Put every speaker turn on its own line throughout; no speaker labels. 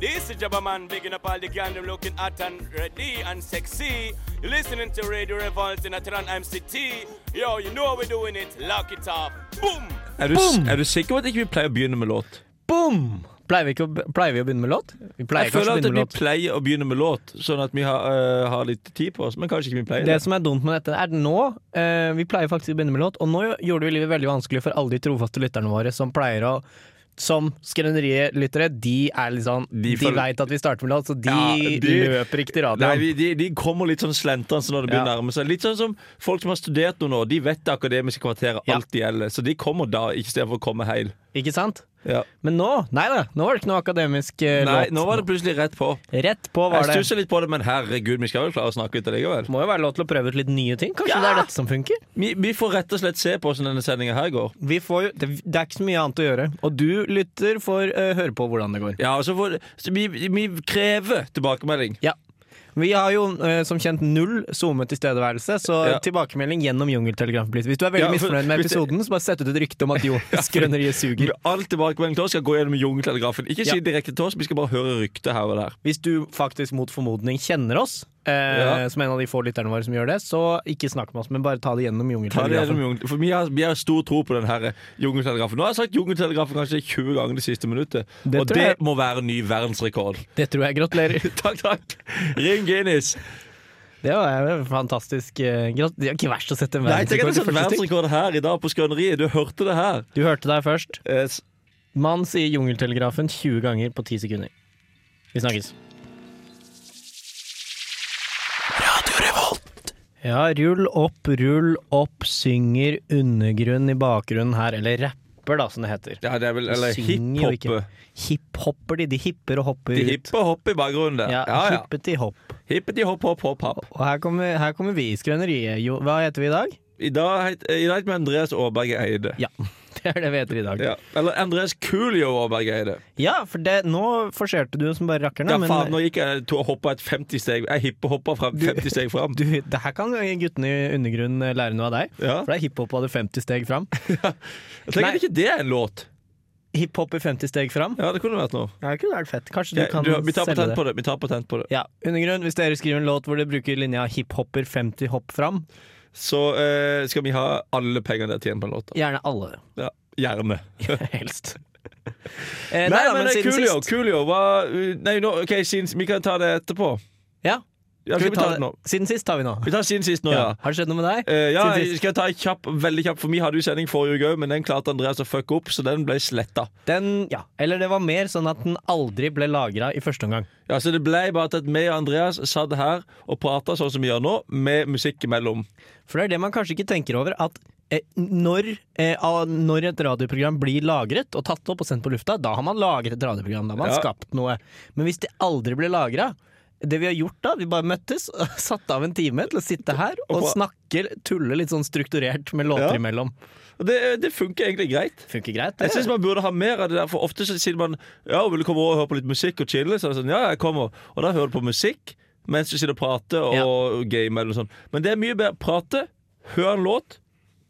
This is Jabba Man, bigging up all the gang, them looking hot and ready and sexy. You're listening to Radio Revolt in Atran MCT. Yo, you know how we're doing it. Lock it up. Boom!
Er du,
Boom!
er du sikker på at ikke vi pleier å begynne med låt?
Boom! Pleier vi, ikke å, pleier vi å begynne med låt? Vi pleier
Jeg
kanskje
føler
å
at vi
begynne med låt.
pleier å begynne med låt, sånn at vi har, eh, har litt tid på oss. Men kanskje ikke vi pleier
Det
det.
som er dumt med dette, er nå eh, Vi pleier faktisk å begynne med låt, og nå gjorde vi livet veldig vanskelig for alle de trofaste lytterne våre som pleier å Som Skrøneriet-lyttere, de er litt sånn De,
De føl-
veit at vi starter med låt, så de,
Ja, de-
løper ikke til
Nei,
radioen.
vi, de, de kommer litt sånn slentrende når det begynner å nærme seg. Litt sånn som folk som har studert noe nå. De vet det akademiske kvarteret
Ja.
alt gjelder. Så de kommer da, ikke istedenfor å komme heil.
Ikke sant?
Ja.
Men nå Nei da, nå var det ikke noe akademisk eh,
Nei,
låt.
nå var det plutselig rett på.
Rett på var
Jeg
det.
stusser litt på det, men herregud, vi skal vel klare å snakke ut allikevel.
Må jo være lov til å prøve ut litt nye ting. Kanskje
Ja!
det er dette som funker?
Vi, vi får rett og slett se på hvordan denne sendinga her går.
Vi får jo, det, det er ikke så mye annet å gjøre. Og du lytter får eh, høre på hvordan det går.
Ja, og så får, så vi, vi krever tilbakemelding.
Ja. Vi har jo eh, som kjent null SoMe-tilstedeværelse, så
Ja.
tilbakemelding gjennom Jungeltelegrafen. please. Hvis du er veldig
Ja, for-
misfornøyd med
hvis det-
episoden, så bare sett ut et rykte om at jo, skrøneriet suger.
All tilbakemelding til oss skal gå gjennom jungeltelegrafen. Ikke si
Ja.
direkte til oss, vi skal bare høre ryktet her og der.
Hvis du faktisk mot formodning kjenner oss, eh, som en av de få lytterne våre som gjør det, så ikke snakk med oss, men bare ta det gjennom
Ta det gjennom
Jungeltelegrafen.
jungel- For vi har, vi har stor tro på den her jungeltelegrafen. Nå har jeg sagt jungeltelegrafen kanskje 20 ganger det siste minuttet.
Det
og
tror
det
jeg-
må være ny verdensrekord.
Det tror jeg. Gratulerer.
Takk, takk. Ring Guinness.
Det var eh, fantastisk. eh, grat- Det er ikke verst å sette en
Nei, tenk at det er
verdensrekord i
sånn
første stikk.
verdensrekord her i dag på Skrøneriet. Du hørte det her.
Du hørte deg først.
Eh, s-
Mann sier Jungeltelegrafen 20 ganger på 10 sekunder. Vi snakkes. Ja, rull opp, rull opp, synger undergrunn i bakgrunnen her, eller rapper da, som det heter.
Ja, det er vel Eller
De synger jo ikke.
hiphoppe.
Hiphopper de, de hipper og hopper
De
ut.
hippe hopper i bakgrunnen der.
Ja,
Ja, ja.
hippeti hopp.
Hippeti hopp, hopp, hopp, hopp.
Og her kommer, her kommer vi i skrøneriet. Jo, hva heter vi i dag?
I dag het- i dag heter vi Andreas Aaberge Eide.
Ja, det er det vi heter i dag.
Ja. Eller Andreas Coolio Aaberge Eide.
Ja, for det, nå forserte du som bare rakkerne,
Ja,
men
faen, nå gikk jeg to hoppa et 50 steg Jeg hippehoppa fra 50 steg fram.
du, det her kan guttene i undergrunnen lære noe av deg.
Ja.
For det er hiphop hadde 50 steg fram.
Tenk
Nei.
at ikke det er en låt.
Hiphop i 50 steg fram?
Ja, det kunne vært noe.
Det kunne vært fett. Kanskje du
Jeg,
kan
du, vi tar
selge
patent
det.
på det. Vi tar patent på det.
Ja, undergrunn, hvis dere skriver en låt hvor dere bruker linja hiphopper 50 hopp fram,
Så eh, skal vi ha alle pengene dere tjener på en låt. da.
gjerne alle,
Ja, gjerne.
helst. Eh,
Nei,
da,
men, eh,
siden
Coolio,
sist-
Coolio hva, eh, Nei, nå, ok, siden, vi kan ta det etterpå.
Ja,
Ja,
skal vi ta
det
det
nå?
Siden sist tar vi nå.
Vi tar siden sist nå, ja.
Ja. Har det skjedd noe med deg?
Eh, ja,
Siden
jeg
sist.
skal ta en kjapp, veldig kjapp, for vi hadde jo sending forrige uke òg, men den klarte Andreas å fucke opp, så den ble sletta.
Den, ja. Eller det var mer sånn at den aldri ble lagra i første omgang.
Ja, så det ble bare til at vi og Andreas satt her og prata sånn som vi gjør nå, med musikk imellom.
For det er det man kanskje ikke tenker over, at eh, når, eh, ah, når et radioprogram blir lagret og tatt opp og sendt på lufta, da har man lagret et radioprogram, da har man
Ja.
skapt noe. Men hvis det aldri blir lagra det vi har gjort da, vi bare møttes og satte av en time til å sitte her og,
Og på-
snakke, tulle litt sånn strukturert med låter
Ja.
imellom.
Og det, eh, det funker egentlig greit.
Funker greit,
Jeg
det.
syns man burde ha mer av det der, for ofte så sier man Ja, vil du komme over og høre på litt musikk og chille? Så er det sånn, ja, jeg kommer. Og da hører du på musikk mens du sitter og prater og,
Ja.
game eller noe sånt. Men det er mye bedre prate, hør en låt,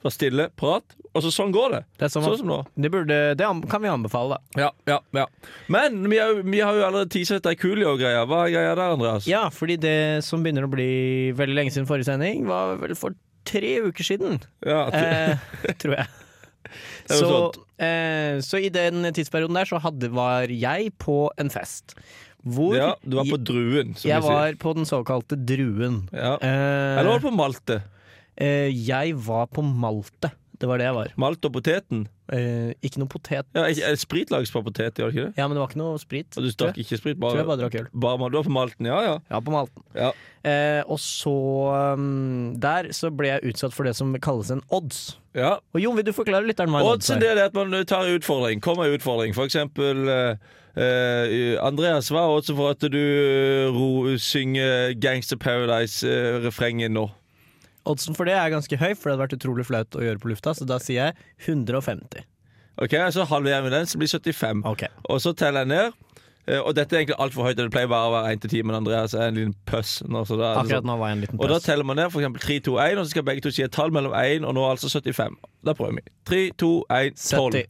være stille, prat, og så sånn går det.
Det, er som,
Sånn som nå.
det, burde, det an- kan vi anbefale, da.
Ja, ja, ja. Men vi har, jo- vi har jo allerede teaset deg Coolio-greia. Hva er greia der, Andreas?
Ja, fordi det som begynner å bli veldig lenge siden forrige sending, var vel for tre uker siden,
Ja, at du-
eh, tror jeg.
er
Så,
noe
eh, så i den tidsperioden der så hadde, var jeg på en fest. Hvor
ja, du var på Druen, som
jeg, jeg
vi sier.
var på den såkalte druen.
Ja.
Eh,
Eller var det på Malte?
eh, jeg var på Malte. Det var det jeg var.
Malt og poteten?
Eh, ikke noe potet.
Ja, ikke, er det sprit lages på potet, gjør det ikke det?
Ja, men det var ikke noe sprit.
Og du
tror
stakk
jeg.
ikke sprit?
Tror
Bare,
jeg bare drakk øl.
bare mal- du var på Malten, ja ja.
Ja, på Malten.
ja.
Eh, og så um, Der så ble jeg utsatt for det som kalles en odds.
ja.
Og Jon, vil du forklare lytteren hva en odds
Oddsen
er?
det er det at man eh, tar en utfordring. Kommer en utfordring. For eksempel eh, eh, Andreas, hva er oddsen for at du eh, ro, synger Gangster Paradise-refrenget nå?
Oddsen for det er ganske høy, for det hadde vært utrolig flaut å gjøre på lufta, så da sier jeg 150.
Ok, Så halverer vi den, så blir det 75.
Ok.
Og så teller jeg ned. Eh, Og dette er egentlig altfor høyt. Det pleier bare å være 1-10, men Andreas er en liten pøss. nå, så da er det
Akkurat
sånn.
nå var jeg en liten
Og da
pøs.
teller man ned for eksempel 3, 2, 1, og så skal begge to si et tall mellom 1 og nå altså 75. Da prøver vi. 3, 2, 1, 12.
70.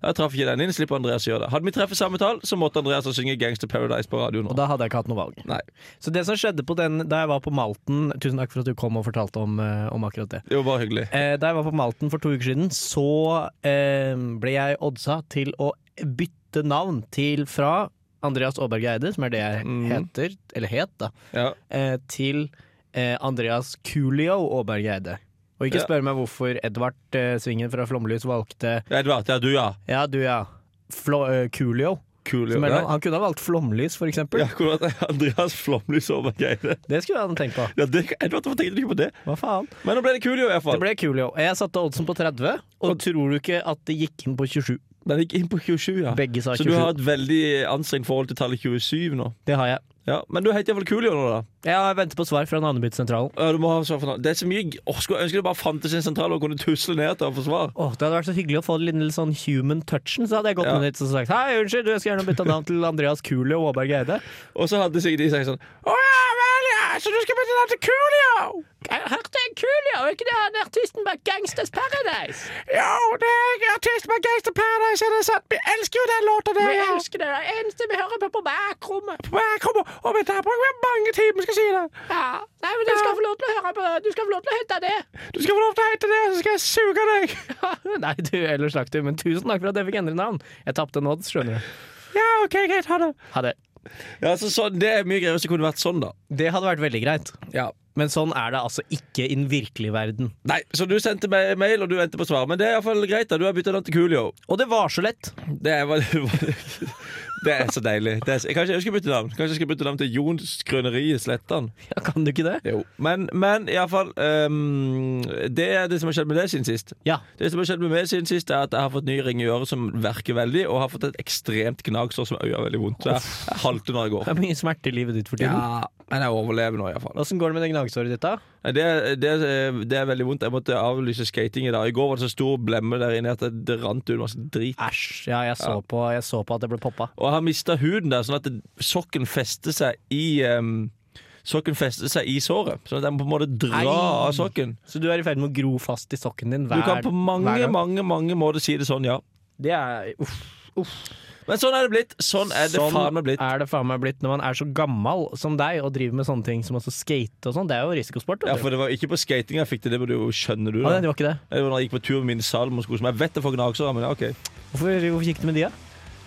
Jeg traff ikke den inn, slipper Andreas å gjøre det. Hadde vi treffet samme tall, så måtte Andreas ha synge Gangster Paradise på radio nå.
Og da hadde jeg ikke hatt noe valg.
Nei.
Så det som skjedde på den, da jeg var på Malten Tusen takk for at du kom og fortalte om, eh, om akkurat det.
Det var bare hyggelig.
Eh, da jeg var på Malten for to uker siden, så eh, ble jeg oddsa til å bytte navn til fra Andreas Aaberg Eide, som er det jeg Mm.
Mhm.
heter, eller het, da,
Ja.
eh, til eh, Andreas Coolio Aaberg Eide. Og ikke
Ja.
spør meg hvorfor Edvard eh, Svingen fra Flomlys valgte
Edvard, ja du, ja.
Ja, du ja, Flo, eh, Coolio.
Kul,
Som er navn.
ja.
Han kunne ha valgt Flomlys, for eksempel.
Ja, hvordan var det? Andreas Flomlys over greiene.
Det skulle han tenkt på.
Ja, det, Edvard, hvorfor tenkte du ikke på det?
Hva faen?
Men nå ble det kul i hvert
Det
fall.
ble Coolio. Jeg satte oddsen på 30, og tror du ikke at det gikk inn på 27?
Den gikk inn på 27, ja.
Begge sa
Så
27.
du har et veldig anstrengt forhold til tallet 27 nå.
Det har jeg.
Ja, Men du heter iallfall Coolio nå, da.
Jeg venter på svar fra navnebyttesentralen.
Ja, du må ha svar for noe. Det er så mye Åh, Skulle ønske det bare fantes en sentral og kunne tusle ned til og få svar.
Åh, det hadde vært så hyggelig å få den lille sånn human touchen. Så hadde jeg gått
Ja.
ned dit og sagt Hei, unnskyld, du jeg skal gjerne bytte navn til Andreas Coolio Aaberg Eide.
Og så hadde sikkert de sagt sånn Å ja vel, ja, så du skal bytte navn til Coolio?
Jeg hørte en Coolio, ikke det han artisten bak Gangsters Paradise?
Jo, det er artist med Gangster Paradise, er det sant? Vi elsker jo den låta der,
elsker det, det eneste vi hører på på bakrommet.
Jeg kommer og vet jeg bruker mange timer, skal jeg si det.
Ja. Nei, men du skal få lov til å høre på Du skal få lov til å hete det.
Du skal få lov til å hete det, så skal jeg suge deg.
Nei, du, ellers slakt du, men tusen takk for at jeg fikk endre navn. Jeg tapte en odds, skjønner du.
Ja, ok, greit, ha det.
Ha det.
Ja, så, sånn- Det er mye greier hvis det kunne vært sånn, da.
Det hadde vært veldig greit.
Ja.
Men sånn er det altså ikke i den virkelige verden.
Nei, så du sendte meg mail, og du venter på svar. Men det er iallfall greit, da. Du har bytta navn til Coolio.
Og det var så lett!
Det er, det er så deilig. Det er, så- kanskje jeg skal bytte navn Kanskje jeg skal bytte navn til Jons Grøneriet Slettan.
Ja, kan du ikke det?
Jo. Men, men iallfall um, Det er det som har skjedd med deg siden sist.
Ja.
Det som har skjedd med meg siden sist, er at jeg har fått ny ring i øret som verker veldig, og har fått et ekstremt gnagsår som gjør veldig vondt. Så jeg, jeg halter når jeg går.
Det er mye smerte i livet ditt for tiden.
Ja, men jeg overlever nå, iallfall.
Åssen går det med det gnagsåret ditt, da?
Nei, Det, det, det er veldig vondt. Jeg måtte avlyse skating i dag. I går var det så stor blemme der inne at det rant ut masse drit.
Æsj. Ja, jeg så, På, jeg så på at det ble poppa.
Og jeg har mista huden der, sånn at det- sokken fester seg i em, Sokken fester seg i såret. Sånn at jeg må på en måte dra
Ei.
av sokken.
Så du er i ferd med å gro fast i sokken din
Du
hver,
kan på mange,
hver gang?
mange mange måter si det sånn, ja.
Det er, uff,
Men sånn er det blitt. Sånn er det
sånn
faen meg blitt.
er det faen meg blitt når man er så gammal som deg og driver med sånne ting som også skate og sånn. Det er jo risikosport.
Ja,
vet du.
For det var ikke på skating jeg fikk det, det burde jo skjønne du.
Ah,
Da.
nei, det var ikke det.
Det var når jeg gikk på tur med mine salmosko, som jeg vet jeg får gnagsår av, men ja, OK. Nei,
Hvorfor, hvorfor gikk det med de, da?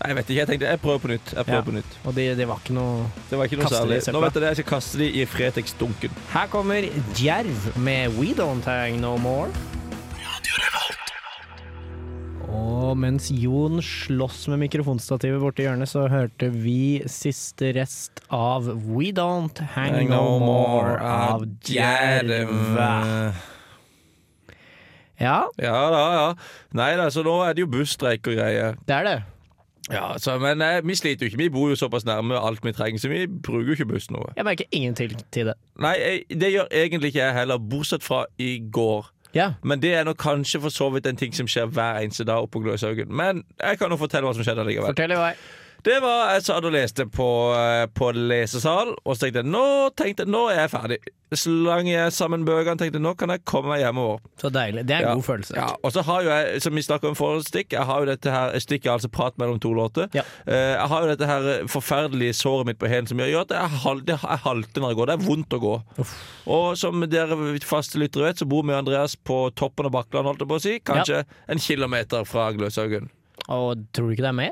jeg vet ikke. Jeg tenkte jeg prøver på nytt. Jeg prøver
Ja.
på nytt.
Og det, det var ikke noe
Det var ikke noe
Kaste de i
særlig.
søpla.
Nå vet jeg det, jeg skal kaste de i Fretex-dunken.
Her kommer Djerv med We Don't Hang No More. Og mens Jon slåss med mikrofonstativet borti hjørnet, så hørte vi siste rest av We Don't Hang, no, More av Djerv. Ja,
Ja da, ja. Nei da, så nå er det jo busstreik og greier.
det er det.
Ja, så, Men eh, vi sliter jo ikke. Vi bor jo såpass nærme alt vi trenger, så vi bruker jo ikke buss noe.
Jeg merker ingenting til det.
Nei, jeg, det gjør egentlig ikke jeg heller, bortsett fra i går.
Ja,
Men det er nok kanskje for så vidt en ting som skjer hver eneste dag oppe på Gløshaugen. Men jeg kan jo fortelle hva som skjedde allikevel.
fortell i vei.
Det var Jeg satt og leste på, eh, på lesesal, og så tenkte jeg nå, tenkte, jeg, nå er jeg ferdig. Slang jeg sammen bøkene, tenkte jeg, nå kan jeg komme meg hjemover.
Så deilig. Det er en
Ja.
god følelse.
Ja, og så har jo jeg, som vi snakket om forrige stikk, jeg har jo dette her stikket, altså prat mellom to låter.
Ja.
Eh, jeg har jo dette her forferdelige såret mitt på hælen som gjør at jeg, hal det- jeg halter når jeg går. Det er vondt å gå. Og som dere faste lyttere vet, så bor vi og Andreas på toppen av Bakkland, holdt jeg på å si. Kanskje en kilometer fra Gløshaugen.
Og tror du ikke det er mer?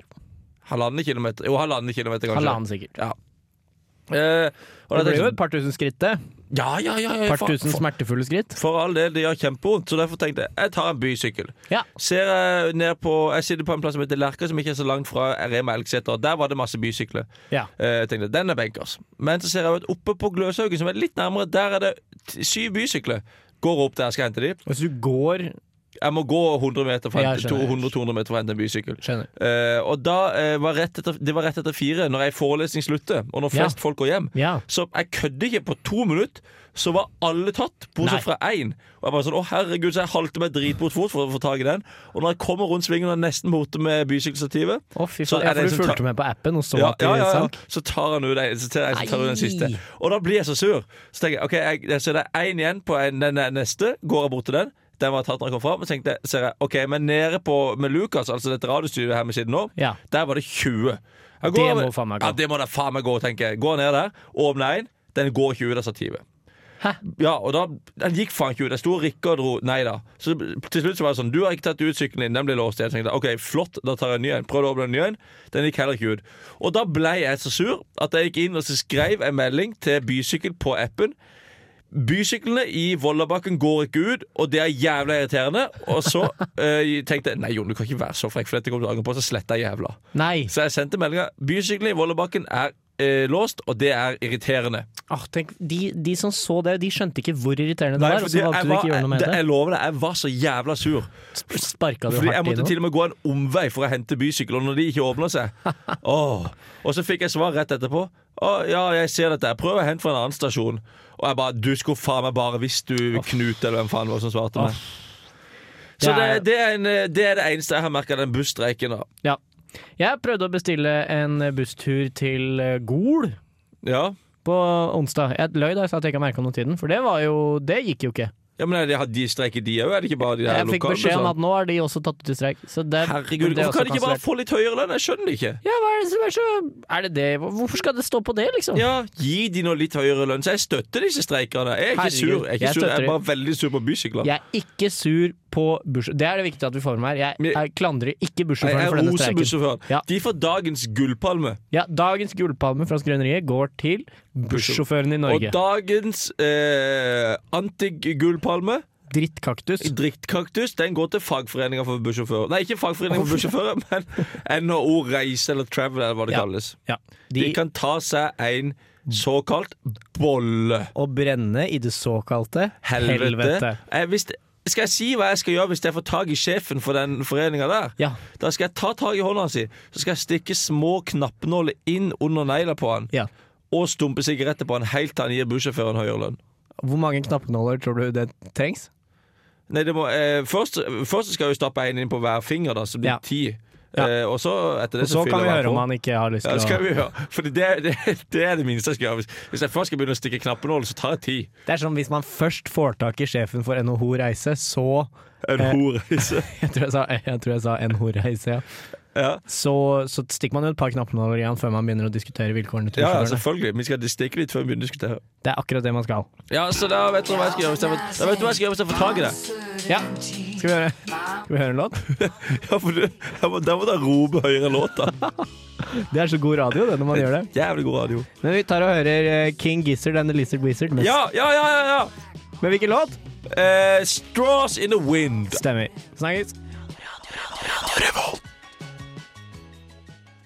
Halvannen kilometer? Jo, halvannen kilometer, kanskje.
Halvannen sikkert.
Ja. Eh, og da
Det
tenkte
blir jo
jeg
et par tusen skritt, det.
sånn, Ja, ja, ja. ja
Par
for-
tusen
for-
smertefulle skritt.
For all del, det gjør kjempevondt, så derfor tenkte jeg jeg tar en bysykkel.
Ja.
Ser Jeg ned på Jeg sitter på en plass som heter Lerka, som ikke er så langt fra Rema Elgseter. og Der var det masse bysykler.
Ja.
Eh, Jeg tenkte, den er benkers. Men så ser jeg at oppe på Gløshaugen, som er litt nærmere, der er det t- syv bysykler. Går opp der, skal hente de.
Hvis du går
Jeg må gå 100 meter for å
Ja,
hente-
jeg skjønner.
200-200 meter for å hente en bysykkel.
Skjønner.
Eh, og da eh, var rett etter, Det var rett etter fire, når ei forelesning slutter, og når
Ja.
flest folk går hjem.
Ja.
Så jeg kødder ikke. På to minutter så var alle tatt, bortsett fra én. Og jeg bare sånn, å herregud, så jeg halte meg dritbort fort for å få tak i den. Og når jeg kommer rundt svingen og er nesten borte med bysykkelstativet,
Å, fy
Så
faen.
er
Ja,
det
for
en
du
som
fulgte
tar-
med på appen og så
ja,
at det
ja, ja, ja,
sank?
så tar han ut den, så tar jeg, så tar jeg den siste.
Nei.
Og da blir jeg så sur. Så tenker jeg ok, jeg, så det er én igjen på en, den neste. Går jeg bort til den, Den var tatt når jeg kom fram. Og så tenkte jeg, ser jeg, ok, men nede på, med Lukas, altså dette radiostudioet her vi sitter nå,
Ja.
der var det 20. Jeg
Det må faen meg gå.
Ja, det må da faen meg gå, tenker jeg. Går ned der, åpner en. Den går ikke ut av stativet.
Hæ?
Ja, og da, Den gikk faen ikke ut. Jeg sto og rikka og dro. Nei da. Så til slutt så var det sånn Du har ikke tatt ut sykkelen din. Den ble låst igjen. Så tenkte jeg, OK, flott, da tar jeg en ny en. Prøvde å åpne en ny en. Den gikk heller ikke ut. Og da ble jeg så sur at jeg gikk inn og så skrev en melding til Bysykkel på appen. Bysyklene i Vollabakken går ikke ut, og det er jævla irriterende. Og så eh, tenkte jeg nei, Jon, du kan ikke være så frekk, for dette kommer du til å angre på. Så sletta jeg jævla.
Nei.
Så jeg sendte meldinga. Bysyklene i Vollebakken er eh, låst, og det er irriterende.
Ah, tenk, de, de som så det, de skjønte ikke hvor irriterende det
Nei,
var, og så
fordi
valgte
jeg
du
var-
ikke å gjøre noe med
det-
det.
Jeg lover deg, jeg var så jævla sur.
Sparka du
Fordi jeg
hardt i
måtte
noe?
til og med gå en omvei for å hente bysykkel, og når de ikke åpner seg Åh. Og så fikk jeg svar rett etterpå. Å, ja, jeg ser dette. Jeg prøver å hente fra en annen stasjon. Og jeg bare Du skulle faen meg bare hvis du Knut eller hvem faen det var som svarte meg. Så
Det er-
det, det, er en, eh, det er det eneste jeg har merka den busstreiken. da.
Ja. Jeg prøvde å bestille en busstur til eh, Gol
Ja.
på onsdag. Jeg løy da jeg sa at jeg ikke har merka noe til den, for det var jo Det gikk jo ikke.
ja, men er det, har de streiker de òg? Er det ikke bare de der
Jeg fikk beskjed om
lokalbussene?
at nå er de også tatt ut i streik. Så det,
Herregud,
det
hvorfor
er også
kan de ikke bare
kansellert.
få litt høyere lønn? Jeg skjønner det ikke.
ja, hva er det som er så Er det det Hvorfor skal det stå på det, liksom?
Ja, Gi de nå litt høyere lønn. Så jeg støtter disse streikerne. Jeg er ikke
Herregud,
sur. Jeg er,
jeg
ikke sur. jeg
støtter
er bare veldig sur på bysykler.
Jeg er ikke sur på bussjåføren. Det er det viktige at vi får med her. Jeg,
Men-
jeg klandrer ikke
Jeg
bussjåføren
jeg
for denne
roser
streiken.
bussjåføren.
Ja.
De får dagens gullpalme.
Ja, dagens gullpalme fra Skrøneriet går til bussjåføren i
Og
Norge.
dagens eh, antigullpalme,
Drittkaktus.
drittkaktus, den går til fagforeninga for bussjåfører. Nei, ikke fagforeninga for bussjåfører, men NHO Reise eller Travel, eller hva det
Ja.
kalles.
Ja.
De
De,
kan ta seg en såkalt bolle.
å brenne i det såkalte
Helvete. Jeg, hvis, skal jeg si hva jeg skal gjøre hvis jeg får tak i sjefen for den foreninga der?
Ja.
Da skal jeg ta tak i hånda si, så skal jeg stikke små knappenåler inn under negla på han.
ja.
Og stumpe sigaretter på han helt til han gir bussjåføren høyere lønn.
Hvor mange knappenåler tror du det trengs?
Nei, det må, eh, først, først skal jeg jo stappe en inn på hver finger, da, så det blir
Ja.
ti.
Ja.
Eh, og så etter det
Så kan
fyller
vi
jeg
høre om
på.
han ikke har lyst
Ja, det skal
til å
vi gjøre. For det, det, det er det minste jeg skal gjøre. Hvis, hvis jeg først skal begynne å stikke knappenåler, så tar jeg ti.
Det er som hvis man først får tak i sjefen for NHO Reise, så
En horeise.
Jeg tror jeg sa, jeg tror jeg sa NHO Reise, ja.
Ja.
Så, så stikker man jo et par knappenåler i han før man begynner å diskutere vilkårene til
ja, altså. ja,
sjåførene.
selvfølgelig. Vi skal stikke litt før vi begynner å diskutere.
Det er akkurat det man skal.
Ja, så da vet du hva jeg skal gjøre hvis jeg, får- da vet du hva jeg skal gjøre hvis jeg får tak i det.
Ja. Skal vi høre, skal vi høre en låt?
Ja, for du, jeg må, Da må du rope høyere låta.
Det er så god radio, det, når man gjør det.
Jævlig god radio.
Men vi tar og hører eh, King Gizzard and the Lizard Wizard. Med,
Ja, ja, ja! ja, ja.
med hvilken låt?
Eh, straws in the wind.
Stemmer. Snakkes.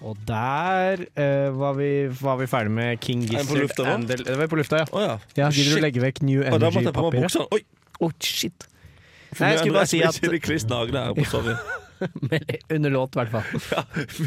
Og der eh, var, vi, var vi ferdig med King
vi
Gizzard.
på lufta nå?
and the- Det var på lufta, ja.
Å ja.
ja
Shit.
Gidder du legge vekk New
Og da måtte jeg på meg
Energy-papiret?
buksene. Oi!
Å, shit. Nei, jeg skulle bare si at-
Det kliss nagne her. Sorry.
Under låt, i hvert fall.
Ja,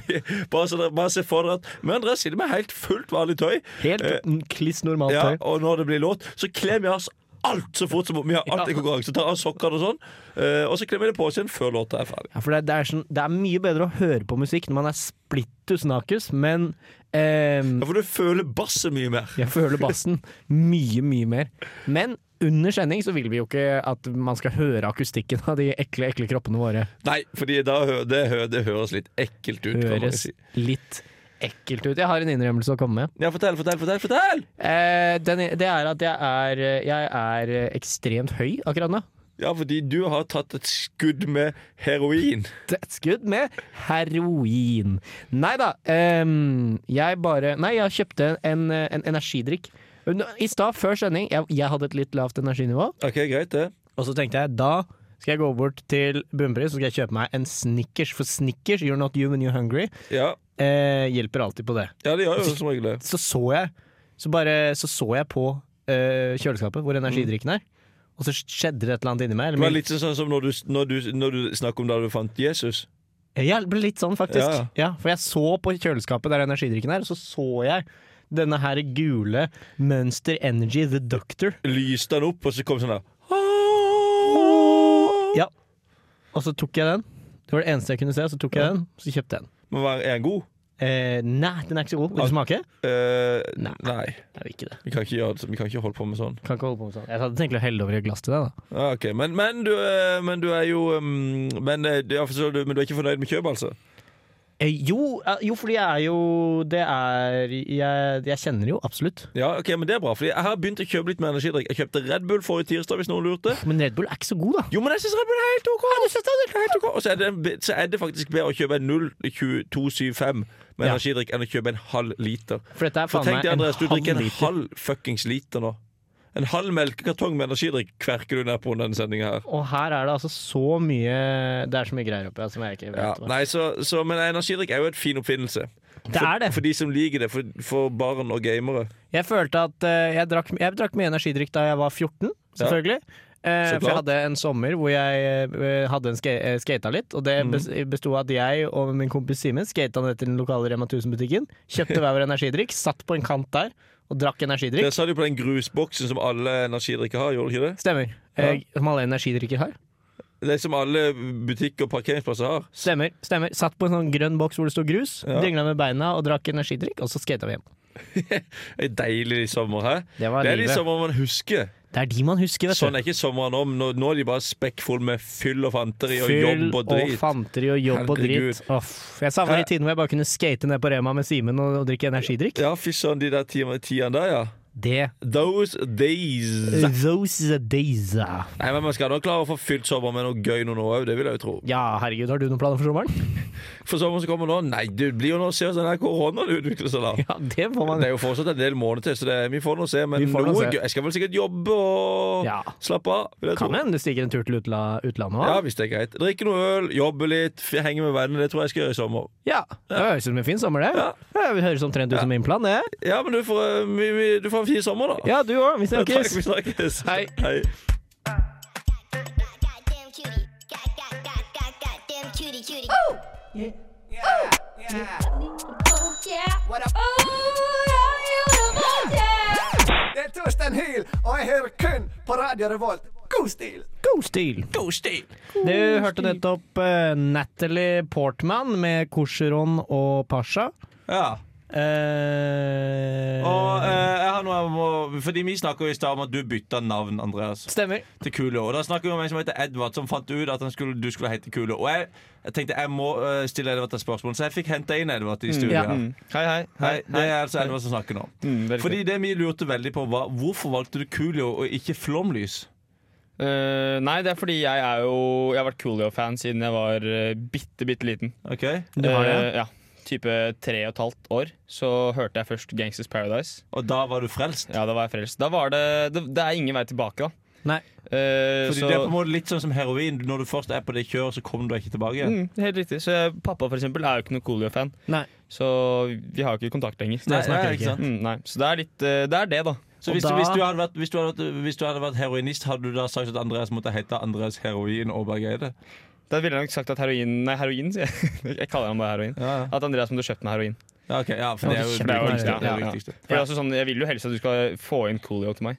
vi- bare, så dere, bare se for dere at vi andre sitter med helt fullt vanlig tøy,
Helt
Eh,
n- kliss normalt
ja,
tøy.
og når det blir låt, så kler vi av oss alt så fort som vi har alt i konkurranse. Tar av sokkene og sånn, eh, og så klemmer vi det på oss igjen før låta er ferdig.
Ja, for det, det, er sånn, det er mye bedre å høre på musikk når man er splittus nakus, men ehm,
Ja, for du føler basset mye mer.
Jeg føler bassen mye, mye mer. Men under sending så vil vi jo ikke at man skal høre akustikken av de ekle, ekle kroppene våre.
Nei, fordi da, hø- det, hø- det høres litt ekkelt ut. kan man
Høres
si.
litt ekkelt ut. Jeg har en innrømmelse å komme med.
Ja, fortell, fortell, fortell! fortell
Eh, den, det er at jeg er, jeg er ekstremt høy akkurat nå.
Ja, fordi du har tatt et skudd med heroin.
Et skudd med heroin. Nei da, ehm, jeg bare Nei, jeg kjøpte en, eh, en energidrikk. I stad, før sending, jeg, jeg hadde et litt lavt energinivå.
Ok, greit det.
Og så tenkte jeg, da skal jeg gå bort til bunnpris og skal jeg kjøpe meg en Snickers. For Snickers, you're not you when you're hungry,
Ja,
eh, hjelper alltid på det.
ja det gjør jo som regel det.
Så så jeg, så bare, så så jeg på eh, kjøleskapet hvor energidrikken er, og så skjedde det et eller annet inni meg.
Det var
Eller min,
litt sånn som når du, når du, når du snakker om da du fant Jesus.
jeg ble litt sånn, faktisk.
Ja,
Ja. for jeg så på kjøleskapet der energidrikken er, og så så jeg denne her gule Monster Energy The Doctor.
Lyste han opp, og så kom sånn der
Ja. Og så tok jeg den. Det var det eneste jeg kunne se, så tok jeg den, så kjøpte jeg den.
Men var, er han god?
Eh, nei, den er ikke så god. Vil du smake?
Eh,
Nei.
nei.
Det er jo ikke det.
Vi kan ikke, gjøre, det- vi kan ikke holde på med sånn.
Kan ikke holde på med sånn. Jeg hadde tenkt å helle over i et glass til deg, da.
Ja, ok, men, men, du, eh, men du er jo um, men, eh, ja, forstår du, men du er ikke fornøyd med kjøpet, altså?
Eh, jo, eh, jo, fordi jeg er jo Det er Jeg, jeg kjenner jo absolutt.
Ja, ok, men det er bra, fordi jeg har begynt å kjøpe litt mer energidrikk. Jeg kjøpte Red Bull forrige tirsdag, hvis noen lurte.
Men Red Bull er ikke så god, da.
Jo, men jeg syns Red Bull er helt OK! Helt ok. Og så er, det, en be- så er det faktisk bedre å kjøpe en 0,2275 med
Ja.
energidrikk enn å kjøpe en halv liter.
For dette er
For
faen
tenk
meg
deg,
en
Andreas, du
halv
drikker en
liter.
halv fuckings liter nå. En halv melkekartong med energidrikk kverker du ned på under denne sendinga her.
Og her er det altså så mye Det er så mye greier oppi her som jeg ikke vet
Ja,
hva
nei, så, så, men energidrikk er jo en fin oppfinnelse.
Det er det.
For de som liker det. For, for barn og gamere.
Jeg følte at eh, jeg, drakk, jeg drakk mye energidrikk da jeg var 14, selvfølgelig. Eh,
Så
for jeg
klart.
hadde en sommer hvor jeg eh, hadde en ske eh, skata litt. Og det
Mm.
bes- besto av at jeg og min kompis Simen skata ned til den lokale Rema 1000-butikken. Kjøpte hver vår energidrikk, satt på en kant der og drakk
Det
energidrikk.
sa de på den grusboksen som alle energidrikker har, gjorde de ikke det?
Stemmer. Eh, som alle energidrikker har.
Det er som alle butikker og parkeringsplasser har.
Stemmer. stemmer Satt på en sånn grønn boks hvor det sto grus,
Ja.
dingla med beina og drakk energidrikk, og så skata vi hjem.
En deilig sommer, hæ?
Det var
Det er de
livet.
somrene man husker.
Det er de man husker, vet du.
Sånn er ikke sommeren om. Nå, nå er de bare spekkfulle med fyll og fanteri og
Fyll
jobb og drit.
fanteri og jobb
Herregud. Eh.
og dritt. Uff, jeg savna de tidene hvor jeg bare kunne skate ned på Rema med Simen og, og drikke energidrikk.
Ja, fy søren, de der timene- tidene der, ja.
Det
Those days.
Eh, Those are days. Ja,
Nei, men Man skal nå klare å få fylt sommeren med noe gøy noen år òg, det vil jeg jo tro.
herregud, har du noen planer for sommeren?
For sommeren som kommer nå, nei, det blir jo nå se hvordan den koronaen utvikler seg da.
Ja, det får
Det er jo fortsatt en del måneder til, så det, vi får nå se. Men
Vi får nå
noe
se.
gøy- jeg skal vel sikkert jobbe og
Ja.
slappe av. Vil jeg
Kan
tro.
hende du stikker en tur til utla utlandet
Ja,
òg.
hvis det er greit. Drikke noe øl, jobbe litt, f- henge med vennene. Det tror jeg jeg skal gjøre i sommer.
Ja. Det høres ut som en fin sommer, det.
Ja.
Ja, vi høres omtrent ut som min plan, det.
Ja, men du får, eh, vi, vi, du får en fin sommer, da.
Ja, du òg. Vi
Takk,
snakkes.
vi snakkes.
Hei.
Hei.
Goddamn cutie. God, god, god, god, goddamn cutie, cutie.
Oh yeah. What up? Oh, yeah, yeah, yeah.
Det er Torstein Hyl, og jeg hører kun på Radio Revolt. God stil!
God stil. Du hørte nettopp eh, Natalie Portman med Korseron og Pasha.
Ja.
Eh,
Og eh, jeg har noe jeg må Fordi vi snakka i stad om at du bytta navn, Andreas.
Stemmer.
til Kule. Og da snakker vi om en som heter Edvard, som fant ut at han skulle, du skulle hete Kule. Og jeg, jeg tenkte jeg må eh, stille Edvard et spørsmål, så jeg fikk henta inn Edvard i studio.
ja.
her.
Hei, Mm. hei.
Hei, det er altså Edvard som snakker nå. Fordi det vi lurte veldig på, var hvorfor valgte du Coolio og ikke Flomlys?
Eh, nei, det er fordi jeg er jo Jeg har vært Coolio-fan siden jeg var eh, bitte, bitte liten.
Ok?
Du har det?
Eh, ja. Type tre og et halvt år. Så hørte jeg først Gangsters Paradise.
Og da var du frelst?
Ja, da var jeg frelst. Da var det Det, det er ingen vei tilbake, da.
Nei.
Eh,
Fordi
så,
Det er på en måte litt sånn som heroin. Når du først er på det kjøret, så kommer du ikke tilbake igjen.
mm, helt riktig. Så jeg, pappa, for eksempel, er jo ikke noe Coolio-fan.
Nei.
Så vi har jo ikke kontakt lenger.
Nei, snakker
ja,
ikke.
sant?
Mm, nei. Så det er litt eh, Det er det, da.
Så
Og
hvis,
da-
hvis, du hadde vært, hvis, du hadde vært, hvis du hadde vært heroinist, hadde du da sagt at Andreas måtte hete Andreas Heroin Aaberg Eide?
Da ville jeg nok sagt at heroin Nei, heroin, sier jeg. Jeg kaller han bare heroin.
Ja, ja.
At Andreas måtte kjøpt meg heroin.
ja, ok, ja, for
Ja,
det er jo
det
Det er jo
Nei,
viktigste.
viktig, ja.
Det er
Ja.
jo viktigste.
For det er også sånn, jeg vil jo helst at du skal få inn Coolio til meg,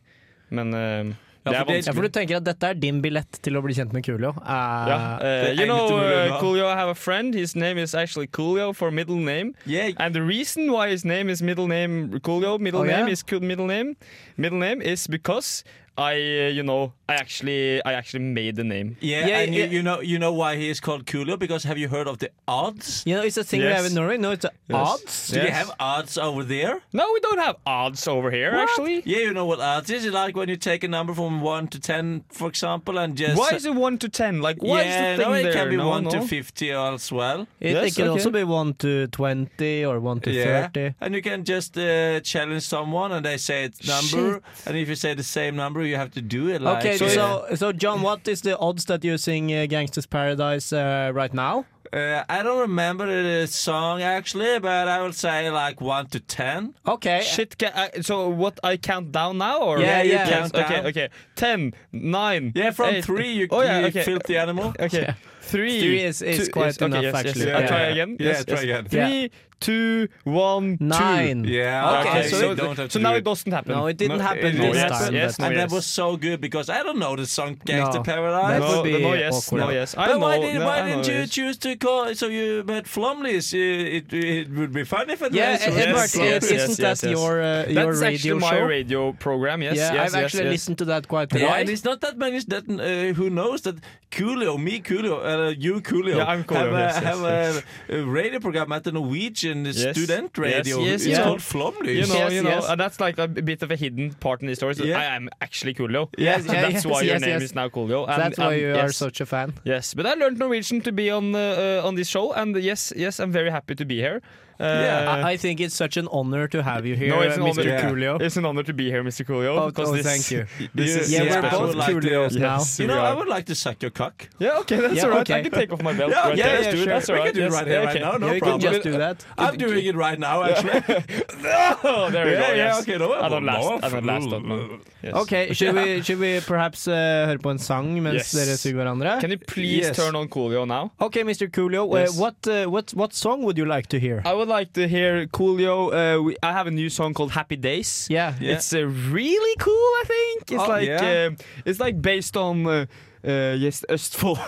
men eh,
for
det er
det-
vanskelig.
Ja, for du tenker at dette er din billett til å bli kjent med Coolio? Eh,
Ja, eh,
det er
you know,
egentlig mulig å
uh,
ha.
Coolio, I have a friend. His name is actually Coolio for middle name.
Yeah.
And the reason why his name is middle name Coolio, middle
Oh, yeah?
name is cool, middle name, middle name is because I, uh, you know, I actually, I actually made the name.
Yeah,
Yeah,
and you,
yeah.
you know you know why he is called Coolio because have you heard of the odds?
You know, it's a thing we
Yes.
have in Norway. No, it's the odds.
Do you
Yes.
have odds over there?
No, we don't have odds over here, actually.
Yeah, you know what odds is. It's like when you take a number from one to ten, for example, and just
Why is it one to ten? Like, why
yeah,
is the thing
no, it
there?
can be
no,
one to
no.
fifty as well.
It,
Yes,
it can
okay.
also be 1 to 20 or 1 to
Yeah,
30.
and you can just uh, challenge someone, and they say its number, and if you say the same number, you have to do it. Like,
Okay,
uh,
so, so John, what is the odds that you sing uh, Gangsters Paradise uh, right now?
uh, I don't remember the song actually, but I would say like one to ten.
Okay.
Shit, can I, so what I count down now? Or?
Eh, Yeah, Yeah, you yeah.
count
okay,
down.
Okay, Ten, nine.
Yeah, from
eight.
three, you,
Oh, yeah,
you
okay.
filthy animal.
Okay, three.
Three is- is
two
quite enough,
yes, yes,
actually.
Yes, I'll
Yeah.
try again.
Yeah,
yes,
try
yes.
again.
Three, two, one, two.
Nine.
Yeah,
Okay,
okay,
so,
so you don't have to
so
do
now
it.
it doesn't happen.
No, it didn't
No,
happen
it-
this
yes,
time.
yes,
but-
And
no,
that was so good because I don't know the song Gangster
No.
Paradise.
That would
no,
be
no, yes,
awkward.
no, yes. I
But why,
know,
did,
no, I
why
know
didn't you
this.
choose to call? So you met Flumleys. It, it, it would be fun if it
Yeah,
was.
Edvard,
Yes,
it-
yes, yes,
isn't
yes,
that
yes.
your, uh, your
That's
radio
actually my
show?
radio program. Yes,
yeah,
yes,
I've
yes,
actually
yes.
listened to that quite a
Yeah,
lot.
and it's not that many that uh, who knows that Coolio, me Coolio, uh, you Coolio,
Yeah, I'm Coolio,
have, a,
yes, yes,
have
yes.
A, a radio program at the Norwegian student
yes,
radio.
yes,
it's
yeah.
called Flomlys.
You know,
Yes,
you know,
yes.
and that's like a bit of a hidden part in the story. So
Yeah.
I am actually Coolio.
Yes,
so
yeah,
that's
yes,
why your
yes,
name
yes.
is now Coolio. And,
That's why
and
you are
yes,
such a fan.
Yes, but I learned Norwegian to be on uh, uh, on this show, and yes, yes, I'm very happy to be here. Uh,
Yeah,
I, I think it's such an honor to have you here,
no, it's an honor.
Mr.
Yeah.
Coolio.
It's an honor to be here, Mr. Coolio.
Oh,
because
oh,
this,
thank you.
This is
Yeah,
so
we're
special.
both
like to-
Coolios now.
Yes,
You
we
know,
are.
I would like to suck your cock.
Yeah, okay, that's
Yeah,
all right.
okay.
I can take off my belt.
Yeah,
right
yeah,
there.
yeah,
Let's do it.
sure.
That's all
We
right.
can do it
yes.
right here,
yeah,
right
okay.
now, no
Yeah, you can
problem.
just do that.
I'm doing it right now, actually.
Oh, there we
Yeah,
go.
yeah,
Yes.
okay, nå er
I don't
det
last.
bra.
I don't last that long. Yes.
Ok, should we, should we perhaps eh, høre på en sang mens
Yes.
dere suger hverandre?
Can you please
Yes.
turn on Coolio now?
Ok, Mr. Coolio, eh,
Yes.
what, eh, what, what song would you like to hear?
I would like to hear Coolio. Uh, we, I have a new song called Happy Days.
Yeah.
Yeah.
It's uh, really cool, I think.
Oh,
It's like
yeah.
um, it's like based on uh, uh, yes, Østfold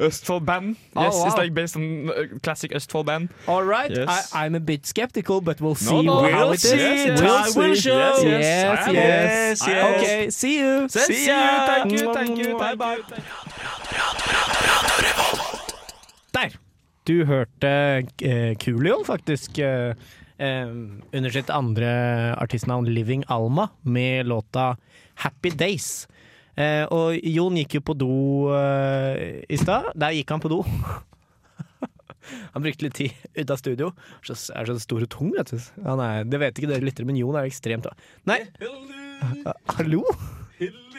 Østfold band.
Oh,
Yes, it's
wow.
like based on uh, classic Østfold band.
All right,
Yes.
I, I'm a bit skeptical, but we'll see
no,
how
we'll
it
see.
is.
Yes,
Time
yes.
will
Yes,
show.
yes,
Yes,
I am.
yes,
Yes, yes.
Okay, see you.
See ya.
Thank you, thank you, thank you.
Der! Du hørte eh, Coolio, faktisk. eh, eh, under sitt andre artistnavn Living Alma, med låta 'Happy Days'. Eh, og Jon gikk jo på do eh, i stad. Der gikk han på do. Han brukte litt tid ute av studio. Så er så stor og tung, vet du. Han er, det vet ikke dere lyttere, men Jon er jo ekstremt Nei, hallo?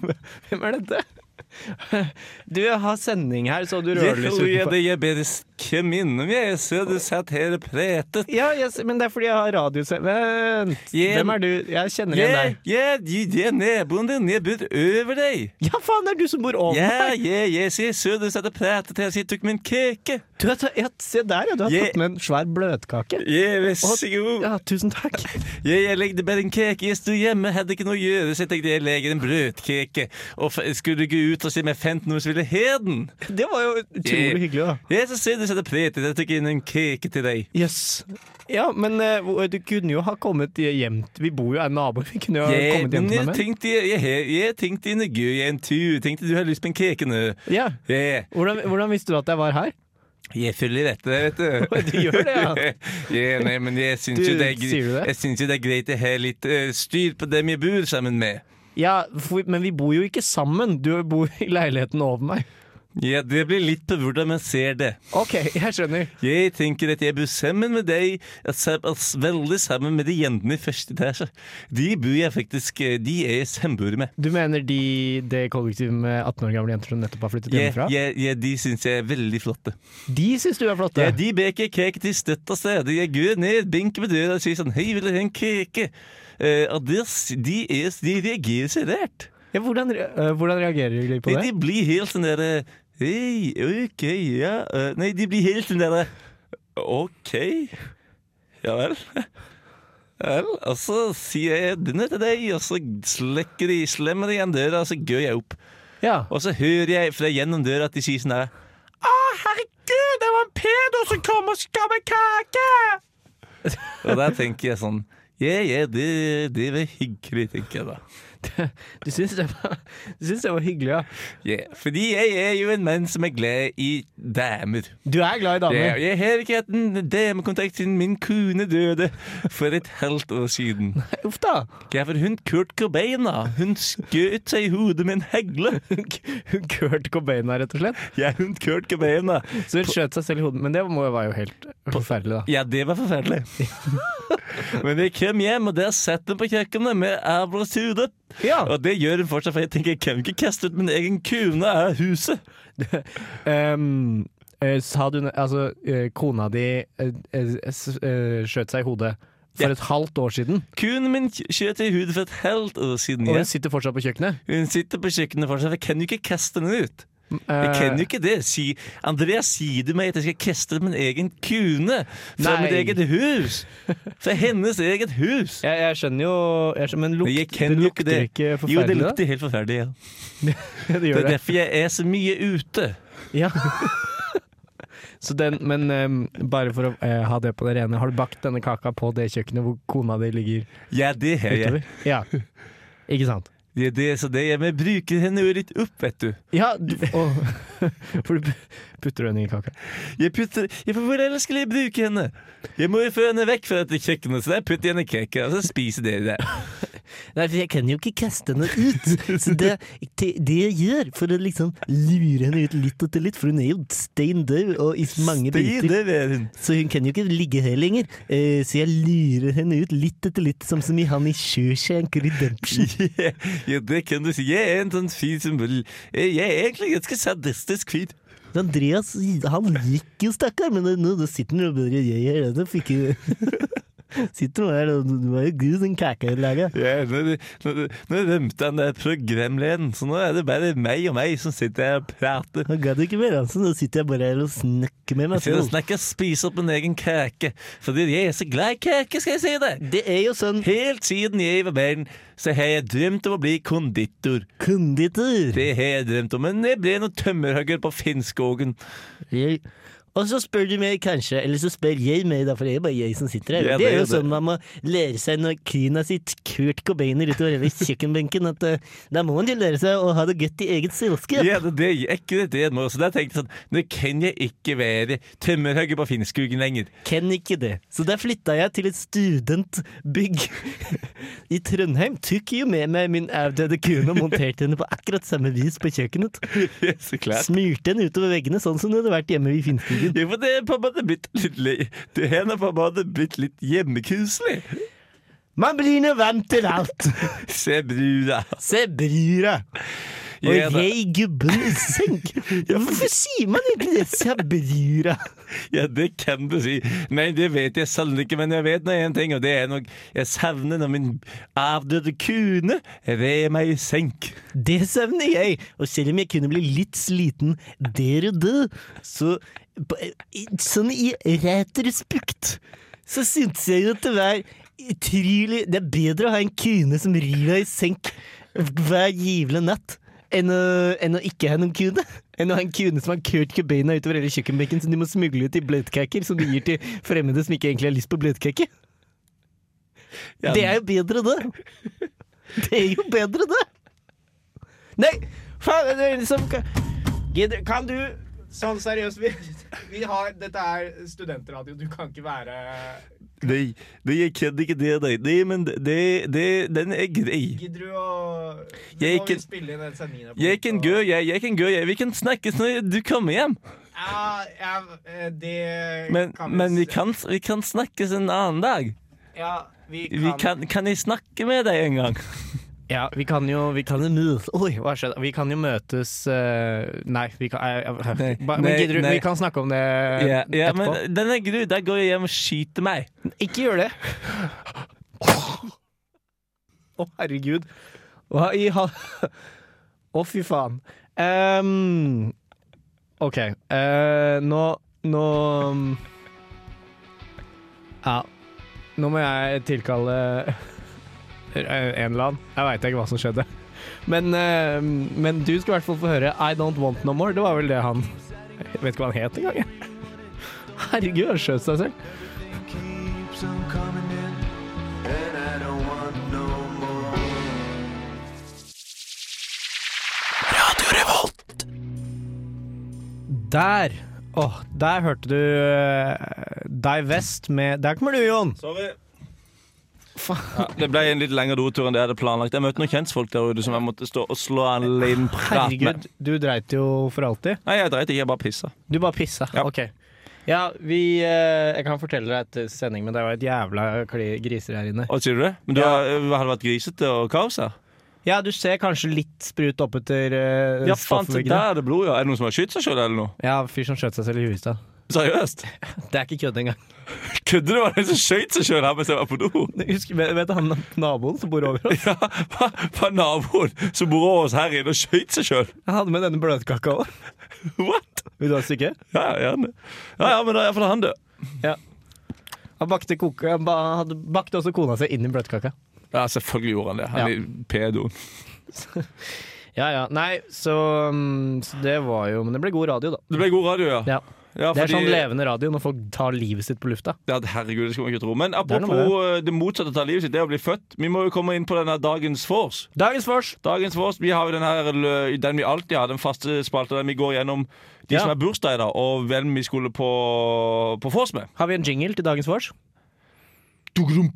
Hvem er dette? Du har sending her, så du rører litt utenfor.
Jeg ber ikke minne meg, så du satt her og pretet.
Ja, yes, men det er fordi jeg har radiosending Vent!
Jeg-
Hvem er du? Jeg kjenner igjen
Jeg,
deg.
jeg, jeg, naboen din, jeg bor over deg.
Ja, faen, det er du som bor over
Ja,
meg!
ja, jeg sier så du satt og pratet, jeg sitter ikke med en keke.
Du har tatt- ja, se der, ja. Du har
Jeg-
tatt med en svær bløtkake.
Ja, vær så god.
Ja, tusen takk.
Ja, jeg legde bare en keke, jeg sto hjemme, hadde ikke noe å gjøre, så jeg tenkte jeg legger en brødkeke. Og f- skulle gå ut og se om jeg fant noen som ville ha den.
Det var jo utrolig hyggelig, da.
Ja, så ser du satt og pratet, jeg tok inn en keke til deg.
Jøss. Yes. Ja, men eh, hvor- du kunne jo ha kommet hjem Vi bor jo er naboer, vi kunne jo ha
Ja,
kommet hjem
men
til
jeg
meg med.
tenkte, jeg, jeg, jeg tenkte, nå går jeg en tur, tenkte du har lyst på en keke nå.
Ja.
Ja,
Hvordan, hvordan visste du at jeg var her?
jeg følger etter deg, vet du.
Du gjør det, ja.
ja, nei, men jeg syns
Du,
jo det er, gre-
sier du det?
Jeg syns jo det er greit å ha litt eh, styr på dem jeg bor sammen med.
ja for, men vi bor jo ikke sammen. Du bor i leiligheten over meg.
Ja, det blir litt på hvordan man ser det.
OK, jeg skjønner.
Jeg tenker at jeg bor sammen med deg, at sam- at veldig sammen med de jentene i første etasje. De bor jeg faktisk eh, De er jeg samboer med.
Du mener de, det kollektivet med 18 år gamle jenter som nettopp har flyttet
Jeg,
hjemmefra?
jeg, jeg, de syns jeg er veldig flotte.
De syns du er flotte!
Ja, de beker kake til støtta seg. Jeg går ned, benker med døra og sier sånn Hei, vil du ha en keke? Eh, og de, de, er, de reagerer så rart.
Ja, hvordan, re- øh, hvordan reagerer de på
Nei,
det?
de blir helt sånn derre Hei, OK, ja eh, Nei, de blir helt sånn derre OK. Ja vel. Vel, og så sier jeg denne til deg, og så slekker de, slemmer de igjen døra, og så går jeg opp.
Ja.
Og så hører jeg fra gjennom døra at de sier sånn derre Å, herregud, det var en pedo som kom og skapte kake! og der tenker jeg sånn Ja, ja, det, det var hyggelig, tenker jeg da.
Du syns det, var- du syns det var hyggelig, ja.
Ja, Fordi jeg er jo en mann som er glad i damer.
Du er glad i
Ja,
damer.
og jeg har ikke hatt en damekontakt siden min kone døde for et halvt år siden.
Uff da!
Ja, for hun Kurt Cobain, da. Hun skjøt seg i hodet med en hegle.
Kurt Cobain her, rett og slett.
Ja, hun Kurt Cobain, da.
Så hun skjøt seg selv i hodet. Men det må jo være jo helt forferdelig, da.
Ja, det var forferdelig. Men jeg kom hjem, og der satt hun på kjøkkenet med avblåst hode.
Ja!
Og det gjør hun fortsatt, for jeg tenker jeg kan ikke kaste ut min egen kone av huset.
ehm, øh, sa du ne- Altså, øh, kona di øh, øh, s- øh, skjøt seg i hodet for
Ja.
et halvt år siden,
Kunen min skjøt i hodet for et halvt år siden.
og
Ja.
hun sitter fortsatt på kjøkkenet.
Hun sitter på kjøkkenet fortsatt, for jeg kan jo ikke kaste henne ut.
Mm, eh,
Jeg kan jo ikke det. Si, Andreas sier det meg at jeg skal kaste min egen kune fra
Nei.
mitt eget hus. Fra hennes eget hus.
Jeg, jeg skjønner jo jeg skjønner, Men
Men jeg
lukt,
kan
det
jo ikke
lukter
det.
ikke
jo, det
forferdelig, da?
lukter helt forferdelig. Ja.
det
Det
gjør
er
det.
derfor jeg er så mye ute.
Ja. Så den, men eh, bare for å eh, ha det på det rene, har du bakt denne kaka på det kjøkkenet hvor kona di ligger
Ja, det har jeg.
utover? Ja. Ikke sant?
Det er det, så det er med å bruke henne jo litt opp, vet du.
Ja, du, å, for du putter henne i kaka.
Jeg putter, jeg, for hvor ellers skulle jeg bruke henne? Jeg må jo få henne vekk fra dette kjøkkenet, så jeg putter henne i kaka, og så spiser dere det.
Nei, for jeg kan jo ikke kaste henne ut. Så det, det det jeg gjør for å liksom lure henne ut litt etter litt, for hun er jo stein død og i mange
Spy,
biter.
det er hun.
Så hun kan jo ikke ligge her lenger. Eh, så jeg lurer henne ut litt etter litt, som som i han i Shawshank Redemption.
Ja, ja, det kan du si. Jeg er en sånn fyr som vil Jeg er egentlig ganske sadistisk fyr.
Andreas han gikk jo, stakkar, men nå, nå sitter han og bare Jeg er det, fikk jo Sitter nå her, og du var jo god, den kaka du laga.
Ja, nå, nå, nå rømte han der programlederen, så nå er det bare meg og meg som sitter her og prater.
Han gadd ikke mer, altså. Nå sitter jeg bare her og snakker med meg
Jeg sitter og
selv.
snakker og spiser opp min egen kake, fordi jeg er så glad i kake, skal jeg si det.
Det er jo sånn
Helt siden jeg var barn, så har jeg drømt om å bli konditor.
konditor.
Det har jeg drømt om, men jeg ble noen tømmerhogger på Finnskogen.
Jeg- Og så spør du meg kanskje, eller så spør jeg meg, da, for det er jo bare jeg som sitter her.
Ja,
det er jo
det er det.
sånn man må lære seg når kyrne sitt Kurt Cobainer utover hele kjøkkenbenken, at eh, da må man jo lære seg å ha det godt i eget selskap.
Ja, det, det er ikke det nå, så der tenkte jeg sånn, nå kan jeg ikke være tømmerhogger på Finnskogen lenger.
Ken ikke det. Så der flytta jeg til et studentbygg i Trøndheim. Tok jo med meg min avdøde kone og monterte henne på akkurat samme vis på kjøkkenet.
Ja, så klart.
Smurte henne utover veggene, sånn som det hadde vært hjemme i Finnskogen.
Ja, for det er på en måte blitt litt le- Det her er på en måte blitt litt hjemmekoselig.
Man blir nå vant til alt!
Se brura.
Se bryr deg! Og
Ja, da.
jeg gubben i senk. Hvorfor sier man egentlig det? Så jeg bryr deg.
Ja, det kan du si. Nei, det vet jeg sannelig ikke, men jeg vet nå én ting, og det er nok Jeg savner når min avdøde kone red meg i senk.
Det savner jeg. Og selv om jeg kunne bli litt sliten der og da, så på- i- Sånn i rett respekt, så syntes jeg jo at det var utrolig Det er bedre å ha en kune som rir deg i senk hver jævla natt. Enn å, enn å ikke ha noen kune. Enn å ha en kune som har Kurt Cobaina utover hele kjøkkenbenken, som du må smugle ut i bløtkaker som du gir til fremmede som ikke egentlig har lyst på bløtkake.
Ja,
Det er jo bedre, det. Det er jo bedre, det. Nei, faen, det er liksom
Gidder- Kan du Sånn seriøst, vi, vi har Dette er studentradio, du kan ikke være
Nei, nei, jeg kan ikke det, nei. nei men det, det, den er grei.
Gidder du å
Jeg
Nå må
kan-
vi spille inn den sendingen.
Jeg kan gå, jeg, jeg kan gå, jeg. Vi kan snakkes når du kommer hjem.
Ja, ja, eh, det
Men,
kan
men vi,
s-
kan, vi kan snakkes en annen dag.
Ja, vi kan,
Vi kan, kan jeg snakke med deg en gang?
Ja, vi kan jo Vi kan jo møtes Oi, hva skjedde? Vi kan jo møtes eh, Nei, vi kan eh, eh,
Nei,
ba, Men
nei,
gidder du
nei.
Vi kan snakke om det
Ja, ja
etterpå.
men den er gru. Der går jeg hjem og skyter meg.
Ikke gjør det. Å, herregud. Hva i ha... Å, fy faen. Ehm, OK. eh, nå Nå Ja. Nå må jeg tilkalle eh, en eller annen. Jeg veit ikke hva som skjedde. Men, eh, men du skal i hvert fall få høre I Don't Want No More. Det var vel det han Jeg vet ikke hva han het engang. jeg. Herregud, han skjøt seg selv.
Keeps on coming in, and I don't want no more.
Der! Åh, der hørte du uh, Dei Vest med Der kommer du, Jon!
Sorry. Ja, det ble en litt lengre rotur enn det jeg hadde planlagt. Jeg møtte noen kjentfolk der ute som jeg måtte stå og slå en liten prat med.
Herregud, du dreit jo for alltid.
Nei, jeg dreit ikke, jeg bare pissa.
Du bare pissa.
Ja.
OK. Ja, vi eh, Jeg kan fortelle deg etter sending, men det var et jævla kli- griser her inne.
Å, Sier du det? Men du
Ja.
har, har det vært grisete og kaos her?
Ja, du ser kanskje litt sprut oppetter uh,
Ja, faen, se der
stoffveggene.
er det blod, ja. Er det noen som har skutt seg sjøl, eller noe?
Ja, fyr som skjøt seg selv i huet i stad.
Seriøst?
Det er ikke kødd engang.
Kødder du? Var det en som skøyt seg sjøl her mens jeg var på do?
Husk, vet, vet du han naboen som bor over oss?
Ja, hva- hva naboen som bor over oss her inne og skøyt seg sjøl?
Han hadde med denne bløtkaka òg.
What?
Vil du ha et stykke?
Ja, gjerne. Ja, ja, men da er iallfall han død.
Han bakte, koke, han ba, hadde bakte også kona seg inn i bløtkaka.
Ja, selvfølgelig gjorde han det. Han
Ja.
er pedoen.
Ja ja. Nei, så, mm, så det var jo Men det ble god radio, da.
Det ble god radio, ja.
Ja.
Ja,
Det er
fordi-
sånn levende radio når folk tar livet sitt på lufta.
Ja, herregud, det skulle man ikke tro. Men
er noe
apropos eh, det motsatte av å ta livet sitt, det å bli født. Vi må jo komme inn på denne dagens vors.
Dagens vors!
Dagens vors, Vi har jo den, her, lø- den vi alltid har, den faste spalta der vi går gjennom de
Ja.
som er bursdag i dag, og hvem vi skulle på, på vors med.
Har vi en jingle til dagens vors?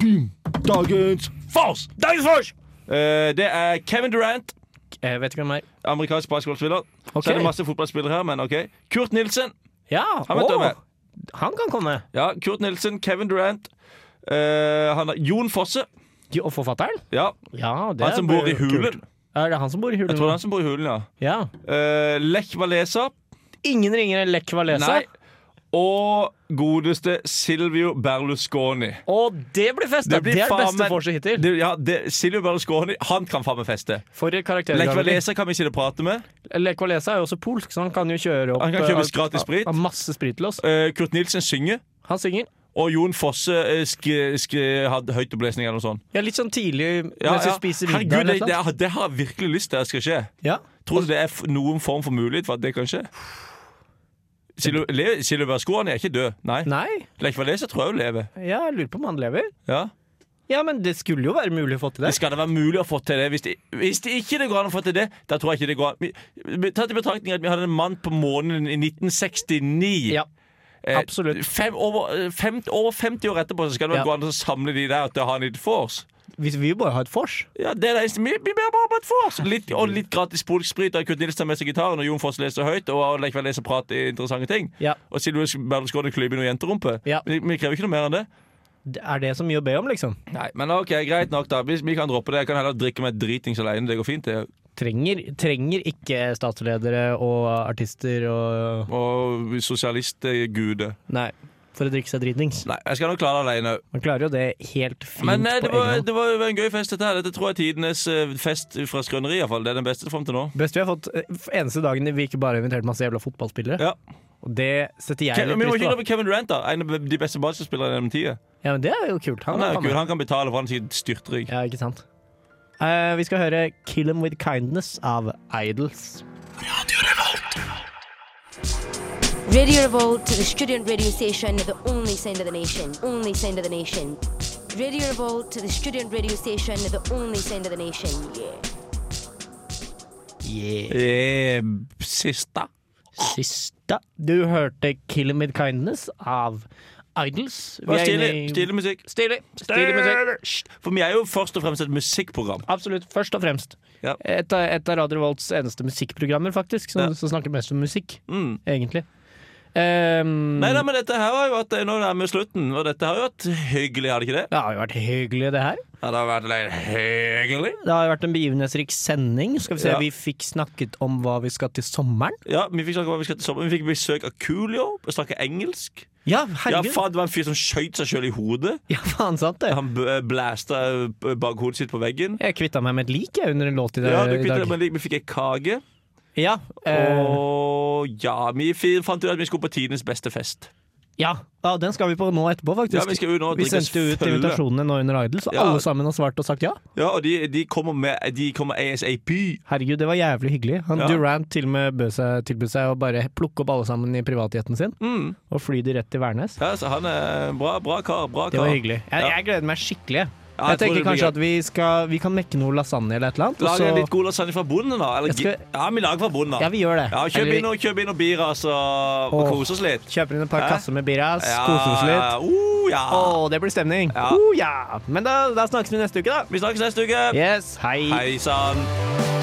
Dagens vors! Dagens vors! Eh, det er Kevin Durant,
Jeg Eh, vet ikke hvem det er.
amerikansk basketballspiller.
Ok.
Så er det masse fotballspillere her, men ok. Kurt Nilsen.
Ja,
Han vet
åh,
hvem jeg er.
han kan komme.
Ja, Kurt Nilsen, Kevin Durant. Eh, han er Jon Fosse.
Jo, Og forfatteren?
Ja,
Ja, det
Han som
blir
bor i
jo kult.
hulen.
Er det han som bor i hulen?
Jeg tror det er han som bor i hulen, ja.
Ja.
Eh, Lech Walesa.
Ingen ringer enn Lech Walesa.
Nei. Og godeste Silvio Berlusconi.
Og det blir fest! da.
Det blir
det er det
faen
beste
meg-
vorset hittil.
Det, ja, det, Silvio Berlusconi, han kan faen meg feste.
For
Lech
karaktergangene.
Walesa kan vi ikke prate med.
Lech Walesa er jo også polsk, så han kan jo kjøre opp
Han kan kjøpe
eh,
oss gratis
av-
sprit.
av masse sprit til oss.
Eh, Kurt Nilsen synger.
Han synger.
Og Jon Fosse eh, sk sk hadde høytopplesning eller noe sånt.
Ja, litt sånn tidlig
Ja,
mens vi
ja.
spiser middag. liksom?
Herregud,
eller
det,
noe
det,
sånt.
har- det har jeg virkelig lyst til at skal skje.
Ja.
Tror du det er f noen form for mulighet for at det kan skje? Silvio Le- Silvio Berlusconi er ikke død. Nei.
Nei,
Lech Walesa tror jeg jo lever.
ja, jeg lurer på om han lever.
Ja.
Ja, men det skulle jo være mulig å få til det.
Men Skal det være mulig å få til det? Hvis, det? hvis det ikke det går an å få til det, da tror jeg ikke det går an. Vi- vi- Tatt i betraktning at vi hadde en mann på månen i 1969.
Ja,
Eh,
absolutt.
Fem, over, eh, fem, over 50 år etterpå så skal det vel
Ja.
gå an å samle de der til å ha en liten vors.
Hvis vi vil bare ha et vors.
Ja, det er det eneste. Vi, vi ber bare på et vors! Litt, og litt gratis polsk sprit der Kurt Nilsen tar med seg gitaren, og Jon Foss leser høyt, og Leif Vel leser prat i interessante ting.
Ja.
Og Silje Berlusconi klyper i noe jenterumpe.
Ja.
Vi, vi krever ikke noe mer enn det.
Er det så mye å be om, liksom?
Nei, Men OK, greit nok, da. Vi, vi kan droppe det. Jeg kan heller drikke meg dritings alene. Det går fint, det.
Trenger, trenger ikke statsledere og artister og
Og sosialistgude.
Nei, for å drikke seg dritings.
Nei, jeg skal nok klare det alene.
Man klarer jo det helt fint
Men eh, det,
på
var,
egen hånd.
det var jo en gøy fest, dette her. Dette tror jeg er tidenes eh, fest fra skrøneri, iallfall. Det er den beste fram til nå.
Best vi har fått eh, eneste dagen vi ikke bare har invitert masse jævla fotballspillere.
Ja.
Og det setter jeg
Ke- Vi
litt
må
pris
ikke
på.
glemme Kevin Durant, da. En av de beste basketspillerne gjennom tida.
Ja, men det er jo kult. Han,
Han er jo
han
kul. Han kan betale for han sitt styrtrygg.
Ja, ikke sant. Eh, vi skal høre 'Kill 'Em With Kindness' av Idols.
Radio Revolt, the student radio station, the only sound of the nation, only sound of the nation. Radio Revolt, the student radio station, the only sound of the nation, yeah.
Yeah.
Eh, Siste.
Siste du hørte 'Kill 'Em With Kindness' av Idols. Vi
Og
er
Stilig.
inne i-
Stilig musikk.
Stilig. Stilig musikk.
Hysj. For vi er jo først og fremst et musikkprogram.
Absolutt. Først og fremst.
Ja.
Et, av, et av Radio Volts eneste musikkprogrammer, faktisk, som,
Ja.
som snakker mest om musikk,
Mm.
egentlig. Ehm,
Nei, nei, men dette her har jo vært eh, Nå nærmer vi slutten, og dette har jo vært hyggelig, har det ikke det?
det har jo vært hyggelig, det her.
Ja, det har vært litt hyggelig.
Det har jo vært en begivenhetsrik sending. Skal vi se,
Ja.
Vi fikk snakket om hva vi skal til sommeren.
Ja, Vi fikk snakke om hva vi skal til sommeren Vi fikk besøk av Coolio og snakke engelsk.
Ja,
Ja,
herregud! Ja, faen,
faen, Det var en fyr som skjøt seg sjøl i hodet.
sant det.
Han b- blæsta eh, bakhodet sitt på veggen.
Jeg kvitta meg med et lik jeg, under en låt i, det,
Ja, du
i
kvittet
dag.
deg med lik. Vi fikk ei kake.
Ja, eh,
Og ja, vi fi- fant ut at vi skulle på tidenes beste fest.
ja. ja, den skal vi på nå etterpå, faktisk.
Ja, Vi skal jo nå
Vi
drikke oss
sendte jo ut
fulle.
invitasjonene nå under Idol, så
Ja.
alle sammen har svart og sagt ja.
Ja, og de, de kommer med De kommer ASAP.
Herregud, det var jævlig hyggelig. Han
Ja.
Durant til og med bød seg, tilbød seg å bare plukke opp alle sammen i privatjeten sin
Mm.
og fly de rett til Værnes.
Ja, så han er en bra, bra kar. Bra
Det
kar.
var hyggelig. Jeg,
Ja.
jeg gleder meg skikkelig. jeg.
Ja, jeg
jeg
tror det
tenker
blir gøy.
kanskje at vi, skal, vi kan mekke noe lasagne eller et eller annet. og
Lag en
så-
litt god lasagne fra bonden, da. Eller,
Jeg skal-
gi- Ja, vi lager fra bonden, da.
Ja, vi gjør det.
Ja, kjøp,
Eller-
inn noe, kjøp inn noen bira, så
Åh.
og kose oss litt.
Kjøper inn et par
Hæ?
kasser med Biras,
Ja,
koser oss litt.
ja, Uh, ja.
Å, det blir stemning.
Ja.
Oh, ja. Men da, da snakkes vi neste uke, da.
Vi snakkes neste uke.
Yes, hei.
Hei sann.